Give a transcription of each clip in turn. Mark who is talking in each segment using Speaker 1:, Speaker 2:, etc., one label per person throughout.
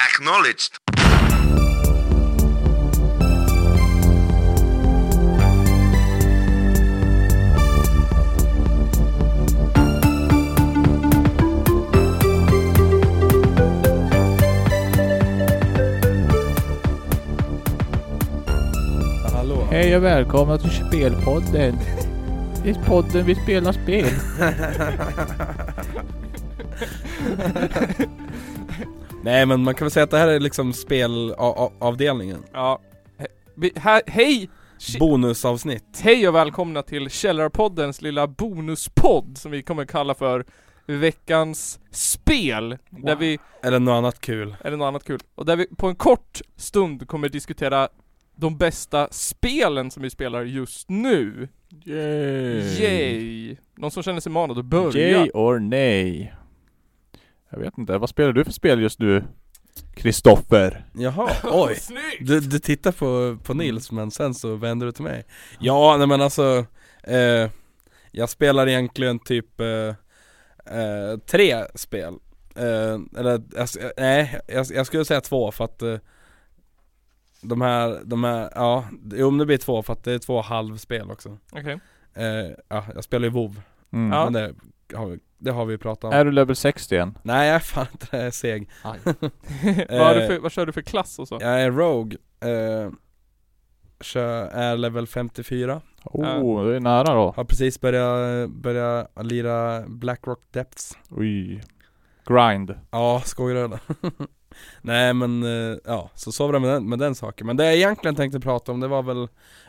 Speaker 1: Acknowledged.
Speaker 2: Hallå.
Speaker 3: Hej och välkomna till Spelpodden. Det är podden vi spelar spel.
Speaker 2: Nej men man kan väl säga att det här är liksom spelavdelningen.
Speaker 4: Ja. He- vi- här- Hej! Shit.
Speaker 2: Bonusavsnitt.
Speaker 4: Hej och välkomna till Källarpoddens lilla bonuspodd som vi kommer kalla för veckans spel. Där vi,
Speaker 2: Eller något annat kul.
Speaker 4: eller något annat kul. Och där vi på en kort stund kommer diskutera de bästa spelen som vi spelar just nu.
Speaker 3: Yay.
Speaker 4: Yay! Någon som känner sig manad att börja?
Speaker 3: Yay or nej. Jag vet inte, vad spelar du för spel just nu? Kristoffer.
Speaker 2: Jaha, oj.
Speaker 4: Snyggt!
Speaker 2: Du, du tittar på, på Nils men sen så vänder du till mig. Ja, nej men alltså. Eh, jag spelar egentligen typ eh, eh, tre spel. Eh, eller, alltså, eh, nej, jag, jag skulle säga två för att eh, de här, de här, ja, jo men det blir två för att det är två halvspel också.
Speaker 4: Okej.
Speaker 2: Eh, ja, jag spelar ju WoW
Speaker 3: Mm.
Speaker 4: Ja.
Speaker 2: men det har, vi- det har vi pratat om.
Speaker 3: Är du level 60 än?
Speaker 2: Nej jag är fan inte det, jag är seg.
Speaker 4: vad,
Speaker 2: Eh.
Speaker 4: har du för, vad kör du för klass och så?
Speaker 2: Jag är Rogue, eh, kör, är level 54,
Speaker 3: Oh, du är nära då.
Speaker 2: har precis börjat, börjat lira Blackrock Depths.
Speaker 3: Oj. Grind.
Speaker 2: Ja, skojar du eller? Nej men, eh, ja, så så var det med den, med den saken. Men det jag egentligen tänkte prata om det var väl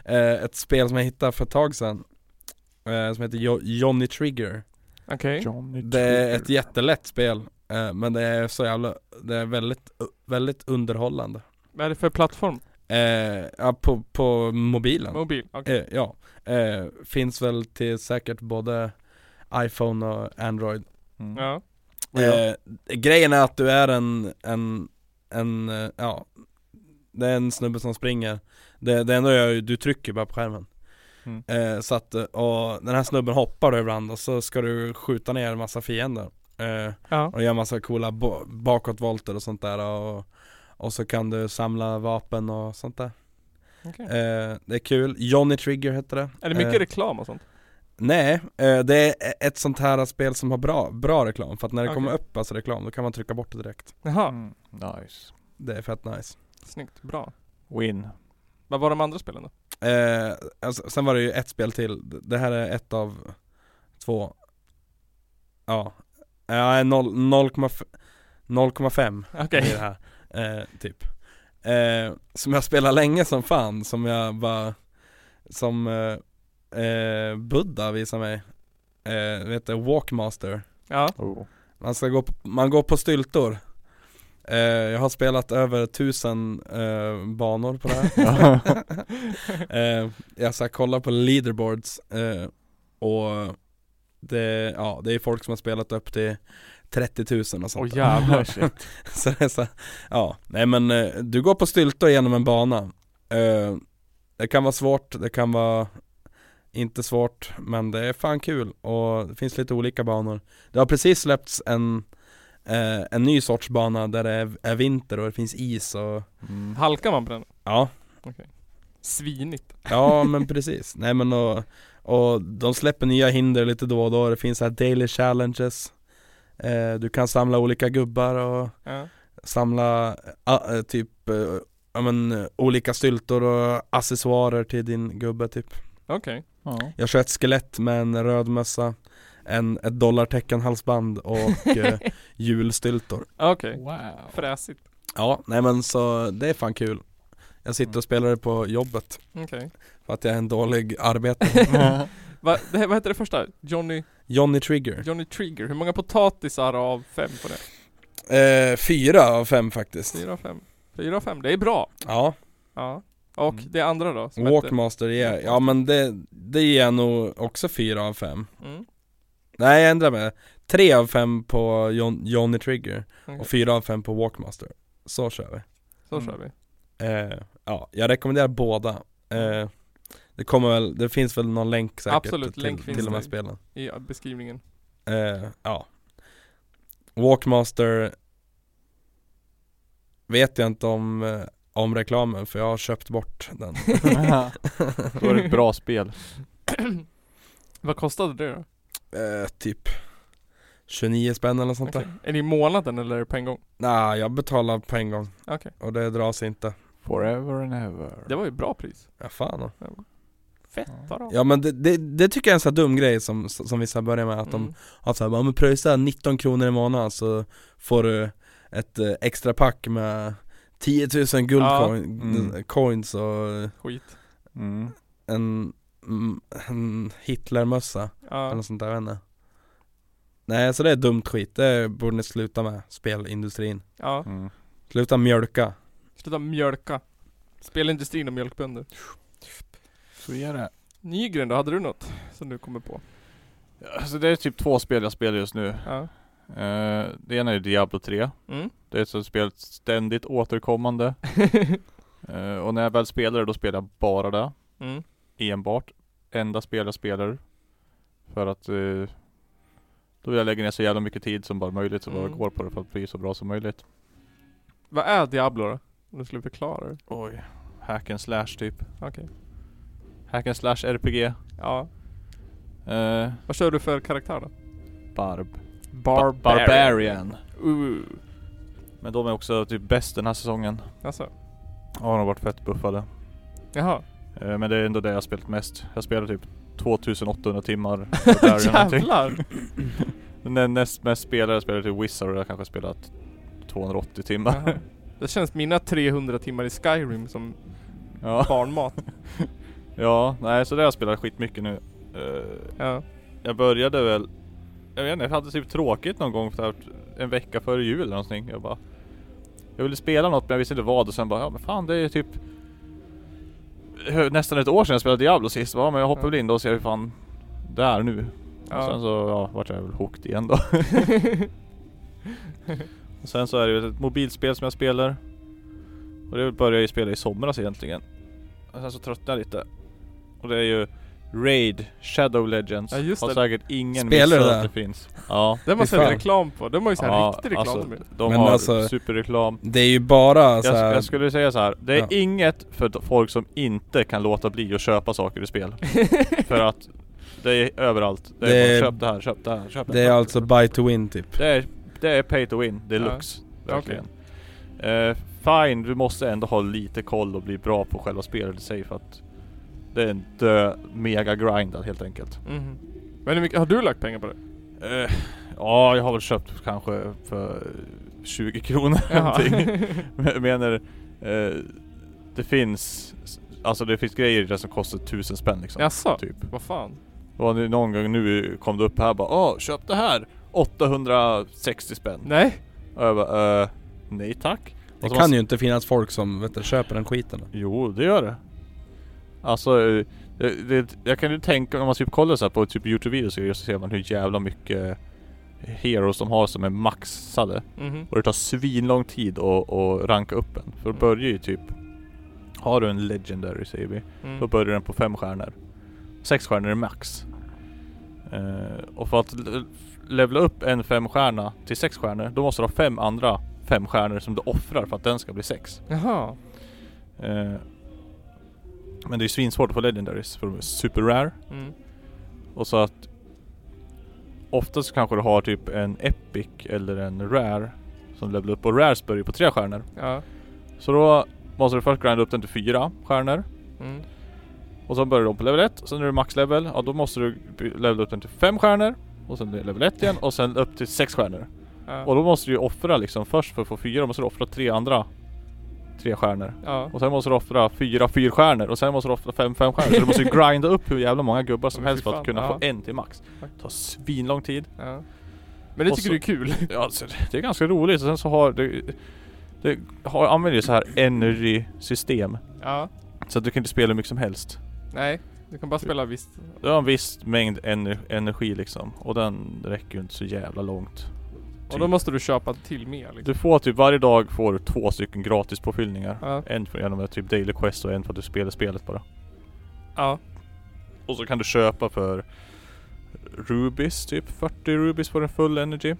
Speaker 2: eh, ett spel som jag hittade för ett tag sedan. Eh, som heter jo- Johnny Trigger.
Speaker 4: Okej.
Speaker 3: Johnny
Speaker 2: Det är ett
Speaker 3: Trigger.
Speaker 2: jättelätt spel, eh, men det är så jävla, det är väldigt, väldigt underhållande.
Speaker 4: Vad är det för plattform?
Speaker 2: Eh, ja, på, på mobilen.
Speaker 4: Mobil? Okej.
Speaker 2: Eh, ja. Eh, finns väl till säkert både iPhone och Android.
Speaker 3: Mm.
Speaker 4: Ja.
Speaker 2: Eh, grejen är att du är en, en, en, eh, ja, det är en snubbe som springer. Det, det enda du gör är ju- du trycker bara på skärmen.
Speaker 3: Mm.
Speaker 2: Eh, så att, eh, och den här snubben hoppar då ibland och så ska du skjuta ner en massa fiender. Eh,
Speaker 4: Ja.
Speaker 2: och gör massa coola bo- bakåtvolter och sånt där och, och så kan du samla vapen och sånt där
Speaker 4: Okej.
Speaker 2: eh, Det är kul, Johnny Trigger heter det
Speaker 4: Är det mycket
Speaker 2: eh,
Speaker 4: reklam och sånt?
Speaker 2: Nej, eh, det är ett sånt här spel som har bra, bra reklam för att när det
Speaker 4: Okej.
Speaker 2: kommer upp alltså reklam då kan man trycka bort det direkt
Speaker 4: Jaha.
Speaker 3: Mm. Nice.
Speaker 2: Det är fett nice
Speaker 4: Snyggt. Bra.
Speaker 3: Win.
Speaker 4: Vad var de andra spelen då?
Speaker 2: eh, alltså, Sen var det ju ett spel till, det här är ett av två Ja, ja 0, 0,5 0,5
Speaker 4: Okej.
Speaker 2: i det här, eh, typ eh, Som jag spelar länge som fan, som jag bara Som eh, eh, Buddha visar mig eh, Vet du, Walkmaster
Speaker 4: Ja.
Speaker 3: Oh.
Speaker 2: Man ska gå, på- man går på styltor eh, Jag har spelat över tusen eh, banor på det här eh, Jag ska kolla på leaderboards eh, och det, ja, det är folk som har spelat upp till 30 000 och sånt
Speaker 4: Åh
Speaker 2: där.
Speaker 4: jävlar.
Speaker 3: Shit.
Speaker 2: Så det är så, ja, nej men eh, du går på styltor genom en bana Eh, Det kan vara svårt, det kan vara inte svårt Men det är fan kul och det finns lite olika banor Det har precis släppts en, eh, en ny sorts bana där det är, är vinter och det finns is och
Speaker 3: Mm.
Speaker 4: Halkar man på den?
Speaker 2: Ja,
Speaker 4: Svinigt.
Speaker 2: ja men precis, nej men och, och de släpper nya hinder lite då och då Det finns så här daily challenges Eh, Du kan samla olika gubbar och
Speaker 4: Ja.
Speaker 2: samla äh, äh, typ äh, ja, men, äh, olika styltor och accessoarer till din gubbe typ
Speaker 4: Okej.
Speaker 3: Ja.
Speaker 2: Jag kör ett skelett med en röd mössa, en, ett dollarteckenhalsband och äh, julstyltor
Speaker 4: Okej.
Speaker 3: Wow.
Speaker 4: Fräsigt.
Speaker 2: Ja, nej men så det är fan kul Jag sitter och spelar det på jobbet
Speaker 4: Okej.
Speaker 2: för att jag är en dålig arbetare
Speaker 4: Va, det, här- vad heter det första? Johnny,
Speaker 2: Johnny Trigger
Speaker 4: Johnny Trigger. Hur många potatisar av fem på det?
Speaker 2: eh, Fyra av fem faktiskt
Speaker 4: Fyra av fem. Fyra av fem. Det är bra.
Speaker 2: Ja,
Speaker 4: Ja. Och
Speaker 3: Mm.
Speaker 4: det andra då? som hette-
Speaker 2: Walkmaster ger, ja men det, det ger jag nog också fyra av fem
Speaker 4: Mm.
Speaker 2: Nej jag ändrar mig, 3 av 5 på Jon- Johnny Trigger
Speaker 4: Okej.
Speaker 2: och 4 av 5 på Walkmaster Så kör vi
Speaker 4: Så
Speaker 3: Mm.
Speaker 4: kör vi.
Speaker 2: eh, Ja, jag rekommenderar båda eh, Det kommer väl, det finns väl någon länk säkert
Speaker 4: Absolut,
Speaker 2: till,
Speaker 4: länk finns
Speaker 2: till de här
Speaker 4: det.
Speaker 2: spelen
Speaker 4: I ja, beskrivningen.
Speaker 2: eh, Ja Walkmaster vet jag inte om, eh, om reklamen för jag har köpt bort den
Speaker 3: Då är det ett bra spel.
Speaker 4: Vad kostade det då?
Speaker 2: eh, Typ 29 spänn eller sånt
Speaker 4: Okej.
Speaker 2: där
Speaker 4: Är det i månaden eller är det på en gång?
Speaker 2: Nej jag betalar på en gång
Speaker 4: Okej.
Speaker 2: och det dras inte
Speaker 3: Forever and ever.
Speaker 4: Det var ju bra pris.
Speaker 2: Ja fan då.
Speaker 4: Fett
Speaker 3: Ja.
Speaker 4: bra.
Speaker 2: Ja men det, det, det tycker jag är en sån här dum grej som, som vissa börjar med att de
Speaker 4: Mm.
Speaker 2: Att såhär, om du pröjsar 19 kronor i månaden så får du ett eh, extra pack med 10 000 guldcoins
Speaker 3: Mm.
Speaker 2: coins och
Speaker 4: Skit.
Speaker 3: Mm.
Speaker 2: en, mm, en Hitlermössa eller
Speaker 4: Ja.
Speaker 2: något sånt där, jag vet inte Nej så det är dumt skit, det borde ni sluta med, spelindustrin
Speaker 4: ja.
Speaker 3: Mm.
Speaker 2: Sluta mjölka
Speaker 4: Sluta mjölka. Spelindustrin och mjölkbönder.
Speaker 3: Så är det.
Speaker 4: Nygren då, hade du något som du kommer på?
Speaker 3: Alltså det är typ två spel jag spelar just nu.
Speaker 4: Ja.
Speaker 3: Eh, det ena är Diablo 3.
Speaker 4: Mm.
Speaker 3: Det är ett sånt spel ständigt återkommande. Eh, och när jag väl spelar det, då spelar jag bara det.
Speaker 4: mm.
Speaker 3: Enbart. Enda spel jag spelar. För att eh, då vill jag lägga ner så jävla mycket tid som bara möjligt, så bara
Speaker 4: Mm.
Speaker 3: går på det för att bli så bra som möjligt.
Speaker 4: Vad är Diablo då? Om du skulle förklara det.
Speaker 3: Oj. Hack and slash typ.
Speaker 4: Okej.
Speaker 3: Hack and slash RPG.
Speaker 4: Ja.
Speaker 3: Eh,
Speaker 4: Vad kör du för karaktär då?
Speaker 3: barb.
Speaker 4: Barbarian.
Speaker 3: Barbarian.
Speaker 4: Ooh.
Speaker 3: Men de är också typ bäst den här säsongen.
Speaker 4: Alltså.
Speaker 3: Ja, de har varit fett buffade.
Speaker 4: Jaha.
Speaker 3: Eh, Men det är ändå det jag har spelat mest. Jag spelar typ 2800 timmar.
Speaker 4: Jävlar!
Speaker 3: Den näst mest spelare jag spelar till Wizard och jag kanske har spelat 280
Speaker 4: Jaha.
Speaker 3: timmar.
Speaker 4: Det känns mina 300 timmar i Skyrim som
Speaker 3: ja.
Speaker 4: barnmat.
Speaker 3: ja, nej så det har jag spelat skitmycket nu. Eh,
Speaker 4: Ja.
Speaker 3: Jag började väl... Jag vet inte, jag hade typ tråkigt någon gång för att- en vecka före jul eller någonting. Jag bara... Jag ville spela något men jag visste inte vad och sen bara, ja men fan det är typ... hö- Nästan ett år sedan jag spelade Diablo sist. Ja men jag hoppar väl in då och ser hur fan det är nu. Och sen
Speaker 4: ja.
Speaker 3: så ja, vart jag väl hooked igen då. och sen så är det ju ett mobilspel som jag spelar. Och det började jag ju spela i somras egentligen. Och sen så tröttnade jag lite. Och det är ju Raid Shadow Legends.
Speaker 4: Ja, just
Speaker 3: Har
Speaker 4: det.
Speaker 3: säkert ingen
Speaker 2: Spelar du
Speaker 3: missat
Speaker 2: det?
Speaker 3: att det finns. Ja.
Speaker 4: Den man
Speaker 2: Fy
Speaker 4: sett
Speaker 2: fan.
Speaker 4: reklam på. De har ju så här
Speaker 3: ja,
Speaker 4: riktig reklam
Speaker 3: alltså,
Speaker 4: med.
Speaker 3: de
Speaker 2: Men
Speaker 3: har
Speaker 2: alltså-
Speaker 3: superreklam.
Speaker 2: Det är ju bara så
Speaker 3: Jag,
Speaker 2: här,
Speaker 3: jag skulle säga så här. det är
Speaker 2: Ja.
Speaker 3: inget för d- folk som inte kan låta bli att köpa saker i spel. för att det är överallt. Det är
Speaker 2: Det är-
Speaker 3: bara, köp det här, köp det här, köp det här.
Speaker 2: Det är alltså buy to win typ
Speaker 3: Det är, det är pay to win deluxe. Verkligen. Eh, fine, du måste ändå ha lite koll och bli bra på själva spelet i sig för att det är en dö mega grindad helt enkelt.
Speaker 4: Mhm. Men hur mycket har du lagt pengar på det?
Speaker 3: Eh, ja, jag har väl köpt kanske för 20 kronor
Speaker 4: Jaha.
Speaker 3: någonting. Men jag menar, eh, det finns Alltså det finns grejer i det som kostar tusen spänn liksom.
Speaker 4: Jaså?
Speaker 3: Typ.
Speaker 4: Vad fan?
Speaker 3: Och nu- någon gång nu kom det upp här bara Åh, köp det här! 860 spänn.
Speaker 4: Nej?
Speaker 3: Och jag bara, eh, nej tack.
Speaker 2: Det
Speaker 3: Och så
Speaker 2: kan
Speaker 3: måste-
Speaker 2: ju inte finnas folk som vet du, köper den skiten
Speaker 3: Jo, det gör det. Alltså, eh, det, det, jag kan ju tänka om man typ kollar så här på typ Youtube-videos och grejer, så ser man hur jävla mycket heroes de har som är maxade.
Speaker 4: Mhm.
Speaker 3: Och det tar svinlång tid att, att ranka upp en.
Speaker 2: Mm.
Speaker 3: För då börjar ju typ... Har du en legendary säger vi,
Speaker 4: Mm.
Speaker 3: då börjar den på fem stjärnor. Sex stjärnor är max. Eh, och för att le- levla upp en femstjärna till sex stjärnor, då måste du ha fem andra femstjärnor som du offrar för att den ska bli sex.
Speaker 4: Jaha.
Speaker 3: Eh, Men det är ju svinsvårt att få legendaries för de är super rare.
Speaker 4: Mm.
Speaker 3: Och så att Oftast kanske du har typ en epic eller en rare Som levelar upp och rares börjar ju på tre stjärnor.
Speaker 4: Ja.
Speaker 3: Så då måste du först grinda upp den till fyra stjärnor.
Speaker 4: Mm.
Speaker 3: Och sen börjar de på level 1. Sen när du är max level, ja då måste du by- levela upp den till fem stjärnor. Och sen blir det level 1 igen och sen upp till sex stjärnor.
Speaker 4: Ja.
Speaker 3: Och då måste du ju offra liksom först för att få fyra, då måste du offra tre andra tre stjärnor.
Speaker 4: ja.
Speaker 3: Och sen måste du offra fyra fyrstjärnor och sen måste du offra fem femstjärnor. Så du måste ju grinda upp hur jävla många gubbar som
Speaker 4: Men fy
Speaker 3: helst för
Speaker 4: fan,
Speaker 3: att kunna
Speaker 4: ja.
Speaker 3: få en till max. Det tar svinlång tid.
Speaker 4: ja. Men det
Speaker 3: Och så-
Speaker 4: tycker du är kul?
Speaker 3: Ja, alltså, det är ganska roligt. Och sen så har det... Det har, använder ju så här energy-system.
Speaker 4: ja. Typ.
Speaker 3: Så att du kan inte spela hur mycket som helst.
Speaker 4: Nej. Du kan bara spela visst.
Speaker 3: Du har en viss mängd ener, energi liksom. Och den räcker ju inte så jävla långt.
Speaker 4: Och då måste du köpa till mer liksom.
Speaker 3: Du får typ varje dag får du två stycken gratis påfyllningar.
Speaker 4: Ja.
Speaker 3: En för genom typ daily quest och en för att du spelar spelet bara.
Speaker 4: Ja.
Speaker 3: Och så kan du köpa för Rubies, typ 40 Rubies för en full energy.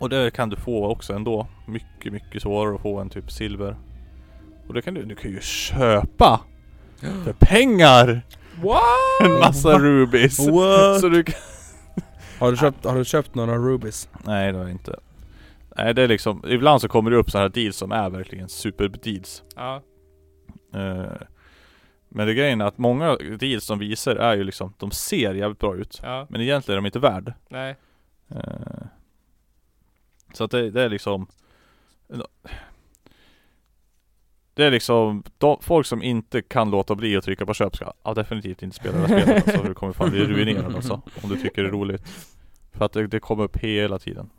Speaker 3: Och det kan du få också ändå. Mycket, mycket svårare att få än typ silver. Och det kan du, du kan ju köpa! För pengar!
Speaker 4: What?
Speaker 3: En massa rubies!
Speaker 2: What?
Speaker 3: Så du kan...
Speaker 2: Har du köpt, har du köpt några rubies?
Speaker 3: Nej det har jag inte. Nej det är liksom, ibland så kommer det upp sådana här deals som är verkligen superdeals.
Speaker 4: Ja.
Speaker 3: Eh, Men det grejen är att många deals som visar är ju liksom, de ser jävligt bra ut.
Speaker 4: Ja.
Speaker 3: Men egentligen är de inte värd.
Speaker 4: Nej.
Speaker 3: Eh, Så att det, det är liksom Det är liksom, de, folk som inte kan låta bli att trycka på köp ska ja, definitivt inte spela det här spelet alltså, för du kommer fan bli ruinerad alltså, Om du tycker det är roligt. För att det, det kommer upp hela tiden.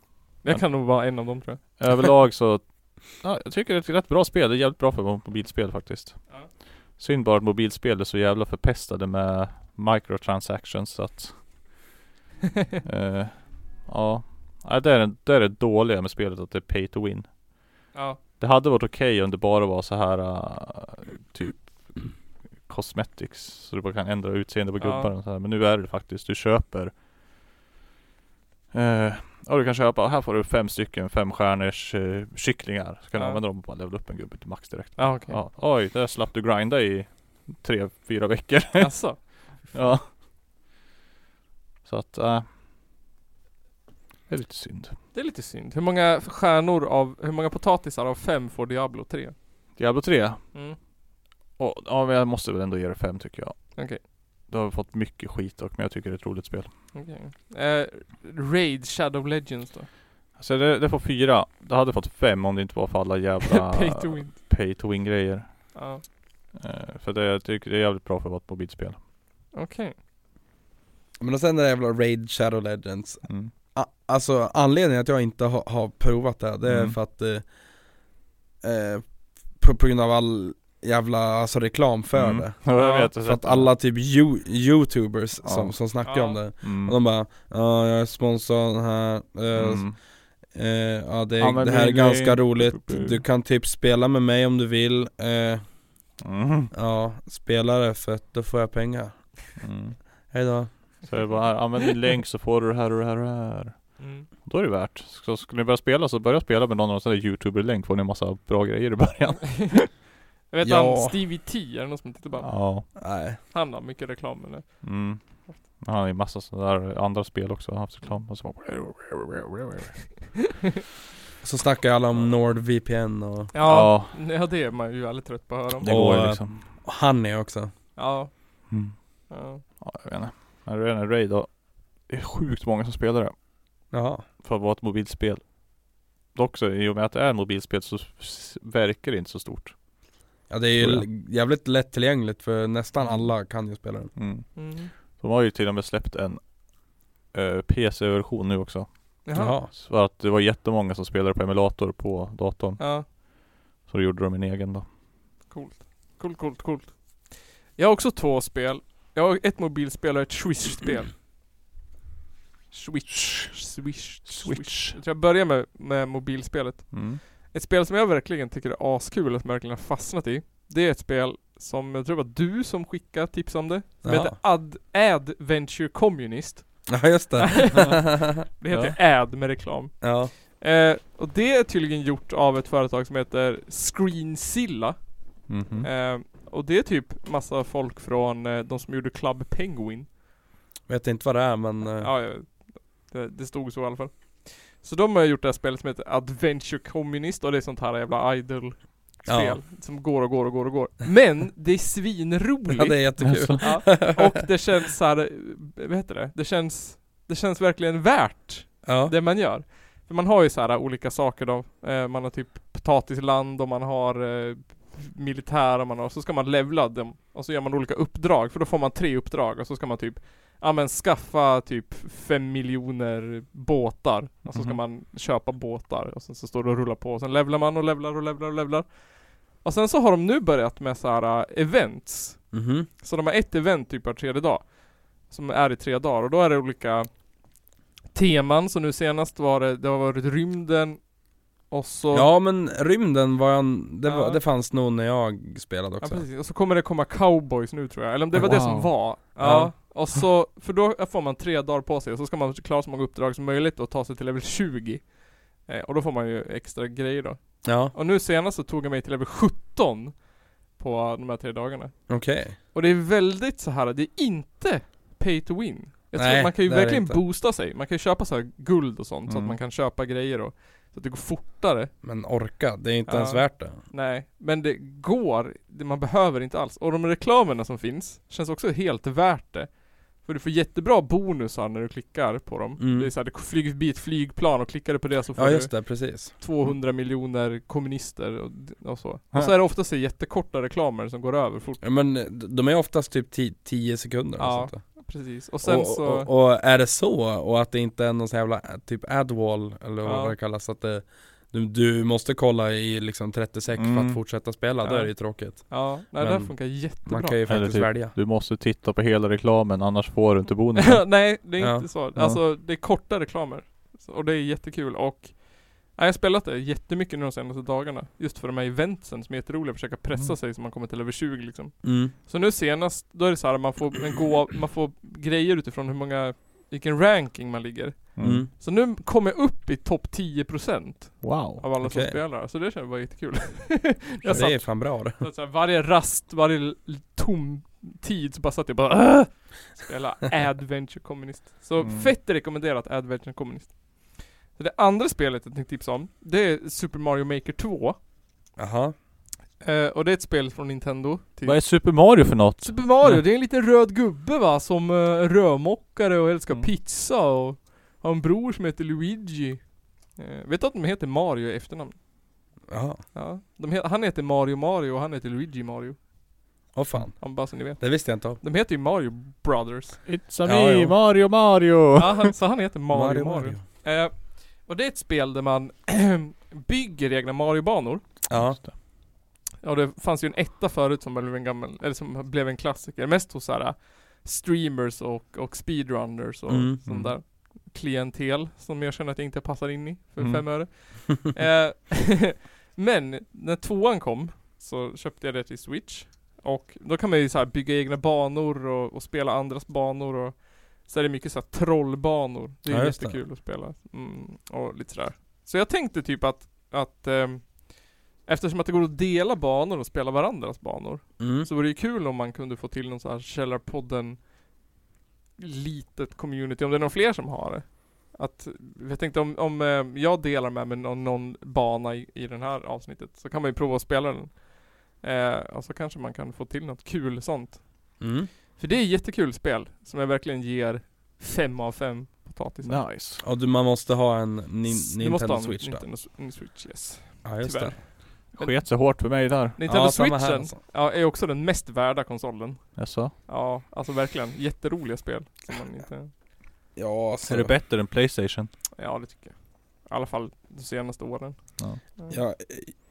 Speaker 4: Jag kan nog vara en av dem tror jag.
Speaker 3: Överlag så ja, Jag tycker det är ett rätt bra spel, det är jävligt bra för mobilspel faktiskt
Speaker 4: Ja.
Speaker 3: Synd bara att mobilspel är så jävla förpestade med microtransactions så att eh, Ja Nej, det, är, den- det är det dåliga med spelet att det är pay to win
Speaker 4: Ja.
Speaker 3: Det hade varit okej om det bara var så här eh, typ Cosmetics så du bara kan ändra utseende på
Speaker 4: Ja.
Speaker 3: gubbar och så här. Men nu är det faktiskt, du köper eh, Ja du kan köpa, här får du fem stycken femstjärnors eh, kycklingar Så kan du
Speaker 4: Ja.
Speaker 3: använda dem och bara levela upp en gubbe till max direkt
Speaker 4: Ja okej.
Speaker 3: Ja, oj där slapp du grinda i tre, fyra veckor
Speaker 4: Jaså?
Speaker 3: Ja Så att, eh, Det är lite synd
Speaker 4: Det är lite synd. Hur många stjärnor av, hur många potatisar av fem får Diablo 3?
Speaker 3: Diablo 3
Speaker 4: Mm.
Speaker 3: och, Ja men jag måste väl ändå ge det fem tycker jag
Speaker 4: Okej.
Speaker 3: Det har fått mycket skit och men jag tycker det är ett roligt spel.
Speaker 4: Okej. Eh, Raid Shadow Legends då?
Speaker 3: Så Alltså, det, det får fyra. Det hade fått fem om det inte var för alla jävla
Speaker 4: Pay to win.
Speaker 3: pay to win grejer.
Speaker 4: Ja.
Speaker 3: Eh, för det, jag tycker det är jävligt bra för att vara ett mobilspel.
Speaker 4: Okej.
Speaker 2: Men och sen den där jävla Raid Shadow Legends
Speaker 3: Mm.
Speaker 2: A- Alltså anledningen att jag inte har, har provat det, det är
Speaker 3: Mm.
Speaker 2: för att eh, eh, på, på grund av all jävla alltså, reklam för
Speaker 3: Mm.
Speaker 2: det
Speaker 3: Ja, jag
Speaker 4: Ja,
Speaker 3: vet.
Speaker 2: För att alla typ you, youtubers
Speaker 3: Ja.
Speaker 2: som, som snackar
Speaker 4: Ja.
Speaker 2: om det
Speaker 3: Mm.
Speaker 2: Och de bara ja jag är sponsrad här, eh,
Speaker 3: Mm.
Speaker 2: eh, ja, det,
Speaker 3: Ja, men
Speaker 2: det här är
Speaker 3: vill
Speaker 2: ganska
Speaker 3: ni-
Speaker 2: roligt Du kan typ spela med mig om du vill, eh,
Speaker 3: Mm.
Speaker 2: ja spela det för att då får jag pengar
Speaker 3: Mm.
Speaker 2: Hejdå
Speaker 3: Så jag bara, här, använd din länk så får du det här och det här och det här.
Speaker 4: Mm.
Speaker 3: Då är det värt. Så ska ni börja spela så börja spela med någon av de där youtuber-länk får ni en massa bra grejer i början.
Speaker 4: Jag vet
Speaker 2: Ja.
Speaker 4: han Stevie T, är det någon som tittar på honom?
Speaker 3: Ja.
Speaker 2: Nej,
Speaker 4: Han har mycket reklam eller?
Speaker 3: Mm. Han har ju massa sådana där andra spel också, han har haft reklam och så bara...
Speaker 2: så snackar alla om NordVPN och
Speaker 4: Ja. Ja det är man ju väldigt trött på att höra om.
Speaker 3: Det går ju
Speaker 2: Och,
Speaker 3: liksom.
Speaker 2: och Honey också
Speaker 4: Ja.
Speaker 3: Mm.
Speaker 4: ja.
Speaker 3: Ja, jag vet inte. Men redan i Raid då. Det är sjukt många som spelar det.
Speaker 2: Jaha
Speaker 3: För att vara ett mobilspel. Dock så, i och med att det är ett mobilspel så s- verkar det inte så stort.
Speaker 2: Ja det är ju
Speaker 3: Tror jag.
Speaker 2: l- jävligt lättillgängligt för nästan alla kan ju spela den
Speaker 3: Mm.
Speaker 4: Mm.
Speaker 3: De har ju till och med släppt en eh, PC-version nu också.
Speaker 4: Jaha.
Speaker 3: Så För att det var jättemånga som spelade på emulator på datorn.
Speaker 4: Ja.
Speaker 3: Så då gjorde de en egen då.
Speaker 4: Coolt. Coolt, coolt, coolt. Jag har också två spel. Jag har ett mobilspel och ett Swish-spel. Switch. Swish. Switch. Jag tror jag börjar med, med mobilspelet.
Speaker 3: Mm.
Speaker 4: Ett spel som jag verkligen tycker är askul och som jag verkligen har fastnat i. Det är ett spel som jag tror det var du som skickade tips om det. Som
Speaker 2: Jaha.
Speaker 4: heter Ad Adventure Communist.
Speaker 2: Ja just det
Speaker 4: Det heter Ad med reklam.
Speaker 2: Ja
Speaker 4: Eh, och det är tydligen gjort av ett företag som heter Screenzilla.
Speaker 3: Mhm.
Speaker 2: Mm.
Speaker 4: Eh, och det är typ massa folk från eh, de som gjorde Club Penguin.
Speaker 2: Vet inte vad det är men eh,
Speaker 4: Ja, jag- det, det stod så i alla fall. Så de har gjort det här spelet som heter Adventure Communist och det är sånt här jävla idol-spel som går och går och går och går. Men det är svinroligt!
Speaker 2: ja det är jättekul
Speaker 4: Ja, och det känns så här, eh, vad heter det? Det känns, det känns verkligen värt
Speaker 2: Ja,
Speaker 4: det man gör. För man har ju så här olika saker då. Eh, man har typ potatisland och man har eh, militär och man har, så ska man levla dem. Och så gör man olika uppdrag, för då får man tre uppdrag och så ska man typ Ja men skaffa typ fem miljoner båtar. Och så ska
Speaker 3: Mhm.
Speaker 4: man köpa båtar och sen så står det och rullar på och sen levlar man och levlar och levlar och levlar. Och sen så har de nu börjat med så här eh, events.
Speaker 2: mhm
Speaker 4: Så de har ett event typ var tredje dag. Som är i tre dagar och då är det olika teman. Så nu senast var det, det har varit rymden och så...
Speaker 2: Ja men rymden var en, det,
Speaker 4: Ja.
Speaker 2: var, det fanns nog när jag spelade
Speaker 4: Ja,
Speaker 2: också
Speaker 4: precis. Och så kommer det komma cowboys nu tror jag. Eller om det var det som
Speaker 3: Wow.
Speaker 4: var. Ja.
Speaker 2: Ja.
Speaker 4: Och så, för då får man tre dagar på sig och så ska man klara så många uppdrag som möjligt och ta sig till level 20. Eh, och då får man ju extra grejer då.
Speaker 2: Ja,
Speaker 4: Och nu senast så tog jag mig till level 17 på de här tre dagarna.
Speaker 2: okej.
Speaker 4: Och det är väldigt så här, det är inte pay to win. Jag tror
Speaker 2: Nej,
Speaker 4: att man kan ju
Speaker 2: det är det
Speaker 4: verkligen
Speaker 2: inte.
Speaker 4: boosta sig. Man kan ju köpa så här guld och sånt så att
Speaker 2: Mm.
Speaker 4: man kan köpa grejer och så att det går fortare.
Speaker 2: Men orka, det är inte
Speaker 4: Ja.
Speaker 2: ens värt det.
Speaker 4: Nej, men det går. Det, man behöver inte alls. Och de reklamerna som finns känns också helt värt det. För du får jättebra bonusar när du klickar på dem.
Speaker 2: Mm.
Speaker 4: Det är så här, det flyger förbi ett flygplan och klickar du på det så får
Speaker 2: Ja
Speaker 4: du
Speaker 2: just det, Mm. precis.
Speaker 4: 200 miljoner kommunister och, och så. Och så är det ofta så jättekorta reklamer som går över fort.
Speaker 2: Ja, Men eh, de är oftast typ 10 sekunder eller
Speaker 4: Ja,
Speaker 2: sånt där.
Speaker 4: Precis. Och sen
Speaker 2: och,
Speaker 4: så...
Speaker 2: och, och är det så, och att det inte är någon sån jävla eh, typ adwall eller
Speaker 4: Ja.
Speaker 2: vad det kallas, att det, du, du måste kolla i liksom 30 sek för
Speaker 3: Mm.
Speaker 2: att fortsätta spela, då
Speaker 4: Ja.
Speaker 2: är det ju tråkigt.
Speaker 4: ja, nej det
Speaker 2: Men
Speaker 4: här funkar jättebra.
Speaker 2: Man kan ju
Speaker 3: Eller
Speaker 2: faktiskt
Speaker 3: typ-
Speaker 2: välja.
Speaker 3: Du måste titta på hela reklamen annars får du inte bonusen.
Speaker 4: nej, det är
Speaker 2: Mm. Ja,
Speaker 4: inte så.
Speaker 3: ja.
Speaker 4: Alltså det är korta reklamer. Så- Och det är jättekul och Nej, jag har spelat det jättemycket nu de senaste dagarna. Just för de här eventsen som är jätteroliga, försöka pressa
Speaker 3: Mm.
Speaker 4: sig så man kommer till över 20 liksom.
Speaker 2: Mm.
Speaker 4: Så nu senast, då är det så här man får en gå, man får grejer utifrån hur många, vilken ranking man ligger.
Speaker 2: Mm.
Speaker 4: Så nu kommer jag upp i topp 10%
Speaker 3: Wow.
Speaker 4: av alla som
Speaker 2: Okej.
Speaker 4: spelar, så det känns bara jättekul.
Speaker 2: Ja,
Speaker 4: jag satt
Speaker 2: det är fan bra det.
Speaker 4: Så att så här, varje rast, varje l- tom tid så bara satt jag bara "Åh!" Spela Adventure Communist. Så
Speaker 3: Mm.
Speaker 4: fett rekommenderat Adventure Communist. Så det andra spelet jag tänkte tipsa om, det är Super Mario Maker 2.
Speaker 2: Jaha.
Speaker 4: Eh, och det är ett spel från Nintendo. Typ.
Speaker 3: Vad är Super Mario för något?
Speaker 4: Super Mario,
Speaker 3: Nej.
Speaker 4: det är en liten röd gubbe va, som eh, är rörmokare och älskar
Speaker 3: Mm.
Speaker 4: pizza och har en bror som heter Luigi. Eh, vet du att de heter Mario i efternamn?
Speaker 2: Jaha.
Speaker 4: Ja. De he- han heter Mario Mario och han heter Luigi Mario.
Speaker 2: Åh fan.
Speaker 4: Ja, bara så ni vet.
Speaker 2: Det visste jag inte om.
Speaker 4: De heter ju Mario Brothers.
Speaker 3: It's
Speaker 2: Ja,
Speaker 3: a me,
Speaker 2: ja.
Speaker 3: Mario Mario!
Speaker 4: Ja, han, så han heter Mario Mario. Eh, och det är ett spel där man bygger egna Mario-banor.
Speaker 2: Ja.
Speaker 3: Just det.
Speaker 4: Och det fanns ju en etta förut som blev en gammal, eller som blev en klassiker. Mest hos såhär streamers och, och speedrunners och
Speaker 2: Mm.
Speaker 4: sånt där klientel som jag känner att jag inte passar in i för
Speaker 3: Mm.
Speaker 4: fem öre. Eh, men när tvåan kom så köpte jag det till Switch. Och då kan man ju så här bygga egna banor och, och spela andras banor och så är det mycket så här trollbanor. Det är
Speaker 2: Ja, just det.
Speaker 4: jättekul att spela. Mm, och lite sådär. Så jag tänkte typ att, att ehm, eftersom att det går att dela banor och spela varandras banor
Speaker 2: Mm.
Speaker 4: så vore det ju kul om man kunde få till någon så här Källarpodden litet community, om det är någon fler som har det. Att, jag tänkte om, om eh, jag delar med mig någon, någon bana i, i den här avsnittet så kan man ju prova att spela den. Eh, och så kanske man kan få till något kul sånt.
Speaker 2: Mm.
Speaker 4: För det är ett jättekul spel som jag verkligen ger fem av fem potatisar.
Speaker 3: Nice.
Speaker 2: Och du, man måste ha en nin,
Speaker 4: S- du måste ha
Speaker 2: Nintendo
Speaker 4: en
Speaker 2: Switch då?
Speaker 4: Nintendo, S- en Switch, yes.
Speaker 2: Ja just
Speaker 4: Tyvärr.
Speaker 2: det.
Speaker 3: Sket så hårt för mig där.
Speaker 4: Nintendo
Speaker 2: ja, samma här
Speaker 4: Switchen
Speaker 2: alltså.
Speaker 4: ja, är också den mest värda konsolen.
Speaker 3: Jaså?
Speaker 4: Ja, alltså verkligen. Jätteroliga spel. Som man inte...
Speaker 2: Ja, alltså.
Speaker 3: Är det bättre än Playstation?
Speaker 4: Ja det tycker jag. I alla fall de senaste åren.
Speaker 3: Ja.
Speaker 2: Jag,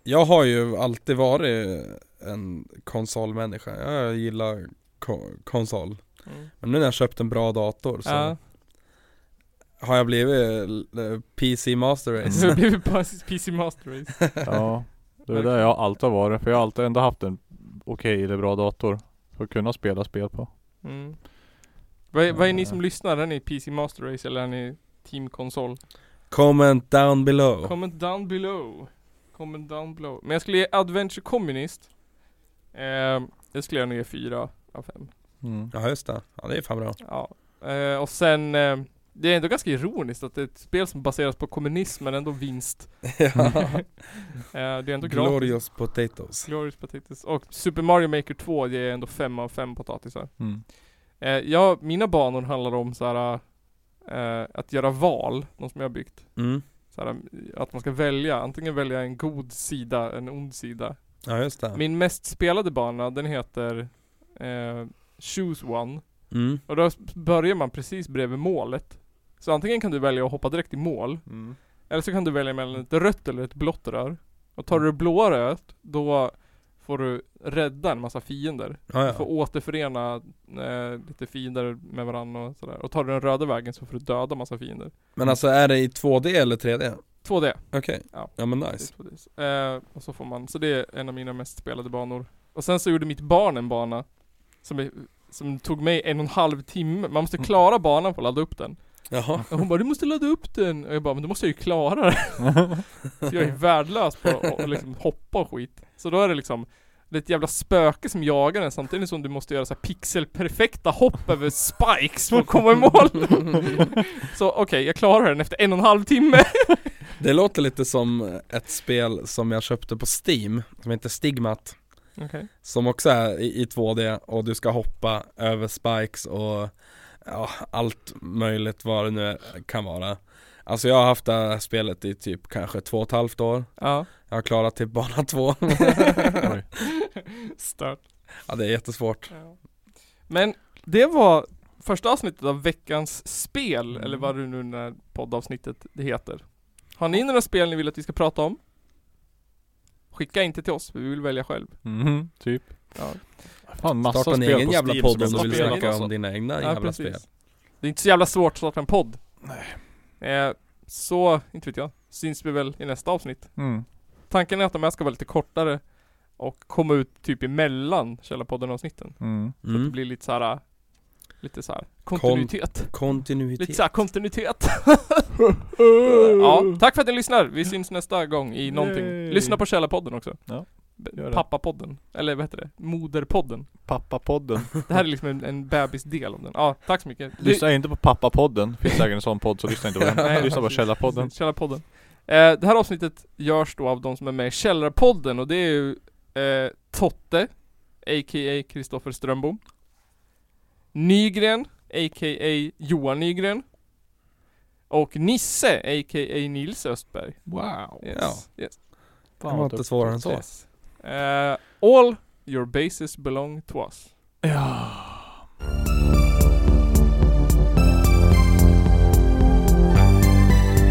Speaker 2: jag har ju alltid varit en konsolmänniska, jag gillar ko konsol.
Speaker 4: Mm.
Speaker 2: Men nu när jag köpt en bra dator så
Speaker 4: Ja,
Speaker 2: har jag blivit eh, PC Master Race.
Speaker 4: nu blir vi på PC Master Race.
Speaker 3: Ja. Det är där jag alltid har varit. För jag har alltid ändå haft en okej eller bra dator. För att kunna spela spel på.
Speaker 4: Mm. Vad, är, vad är ni som lyssnar? Är ni PC Master Race eller är ni Team Konsol?
Speaker 2: Comment down below.
Speaker 4: Comment down below. Comment down below. Men jag skulle ge Adventure Communist. Eh, det skulle jag nog ge 4 av 5.
Speaker 3: Mm.
Speaker 2: Ja just det, ja det är fan bra.
Speaker 4: Ja. Eh, och sen, eh, det är ändå ganska ironiskt att det är ett spel som baseras på kommunism men ändå vinst.
Speaker 2: ja.
Speaker 4: eh, det är ändå gratis.
Speaker 2: Mm. Glorious potatoes.
Speaker 4: Glorious Potatoes. Och Super Mario Maker 2 ger jag ändå 5 av 5 potatisar.
Speaker 3: Mm.
Speaker 4: Eh, ja, mina banor handlar om så här, eh, att göra val, de som jag har byggt.
Speaker 2: Mm.
Speaker 4: Så här, att man ska välja, antingen välja en god sida, en ond sida.
Speaker 2: Ja just det.
Speaker 4: Min mest spelade bana, den heter eh, Choose One.
Speaker 2: Mm.
Speaker 4: Och då börjar man precis bredvid målet. Så antingen kan du välja att hoppa direkt i mål,
Speaker 3: Mm.
Speaker 4: eller så kan du välja mellan ett rött eller ett blått rör. Och tar du det blåa röret, då får du rädda en massa fiender.
Speaker 2: Ja,
Speaker 4: Du får
Speaker 2: ja.
Speaker 4: återförena eh, lite fiender med varandra och sådär. Och tar du den röda vägen så får du döda massa fiender.
Speaker 2: Men alltså är det i 2D eller 3D?
Speaker 4: 2D.
Speaker 2: Okej,
Speaker 4: Ja.
Speaker 2: ja men
Speaker 4: det är
Speaker 2: nice.
Speaker 4: 2D. Eh, och så får man, så det är en av mina mest spelade banor. Och sen så gjorde mitt barn en bana. Som, är, som tog mig en och en halv timme. Man måste klara banan för att ladda upp den.
Speaker 2: Jaha.
Speaker 4: Och hon bara 'Du måste ladda upp den' och jag bara 'Men då måste jag ju klara det' För jag är värdelös på att och liksom hoppa och skit Så då är det liksom Det är ett jävla spöke som jagar den samtidigt som du måste göra så här pixelperfekta hopp över spikes för att komma i mål Så okej, jag klarar den efter en och en halv timme
Speaker 2: Det låter lite som ett spel som jag köpte på Steam, som heter Stigmat
Speaker 4: Okej
Speaker 2: Som också är i i 2D och du ska hoppa över spikes och ja, allt möjligt vad det nu kan vara Alltså jag har haft det här spelet i typ kanske två och ett halvt år
Speaker 4: Ja
Speaker 2: Jag har klarat till bana två
Speaker 3: Oj.
Speaker 4: Stört
Speaker 2: Ja det är jättesvårt
Speaker 4: Ja. Men det var första avsnittet av veckans spel,
Speaker 3: Mm.
Speaker 4: eller vad det nu när poddavsnittet det heter. Har ni några spel ni vill att vi ska prata om? Skicka inte till oss, vi vill välja själv.
Speaker 3: Mhm, typ.
Speaker 4: Ja,
Speaker 3: Fan massa
Speaker 2: Starta en
Speaker 3: spel
Speaker 2: egen
Speaker 3: på
Speaker 2: jävla
Speaker 3: Steam
Speaker 2: podd
Speaker 3: som
Speaker 2: om du
Speaker 3: jag
Speaker 2: vill
Speaker 3: spelar
Speaker 2: snacka
Speaker 3: alltså.
Speaker 2: om dina egna
Speaker 4: Ja,
Speaker 2: jävla spel
Speaker 4: Det är inte så jävla svårt att starta en podd. Nej. Eh, så, inte vet jag, syns vi väl i nästa avsnitt.
Speaker 3: Mm.
Speaker 4: Tanken är att de här ska vara lite kortare och komma ut typ emellan Källarpodden-avsnitten.
Speaker 3: Mm.
Speaker 4: Det
Speaker 2: mm.
Speaker 4: blir lite såhär, lite såhär kontinuitet. Lite
Speaker 2: Kontinuitet
Speaker 4: såhär kontinuitet. ja, tack för att ni lyssnar. Vi syns nästa gång i någonting.
Speaker 3: Yay.
Speaker 4: Lyssna på Källarpodden också.
Speaker 3: Ja,
Speaker 4: B-
Speaker 3: gör det.
Speaker 4: Pappapodden. Eller vad heter det? Moderpodden.
Speaker 3: Pappapodden.
Speaker 4: Det här är liksom en, en bebisdel av den. Ja, tack så mycket. Ly-
Speaker 3: Lyssna inte på pappapodden. Finns säkert en sån podd så lyssna inte på
Speaker 4: Nej,
Speaker 3: den. Lyssna på
Speaker 4: precis.
Speaker 3: källarpodden.
Speaker 4: Källarpodden. Eh, det här avsnittet görs då av de som är med i Källarpodden och det är ju eh, Totte, a.k.a. Kristoffer Strömbom. Nygren, a.k.a. Johan Nygren. Och Nisse, a.k.a. Nils Östberg.
Speaker 3: Wow.
Speaker 4: Yes. Yes.
Speaker 2: Det var
Speaker 4: typ.
Speaker 2: inte svårare än så
Speaker 4: yes. Eh, all your bases belong to us.
Speaker 3: Ja. Källarpodden.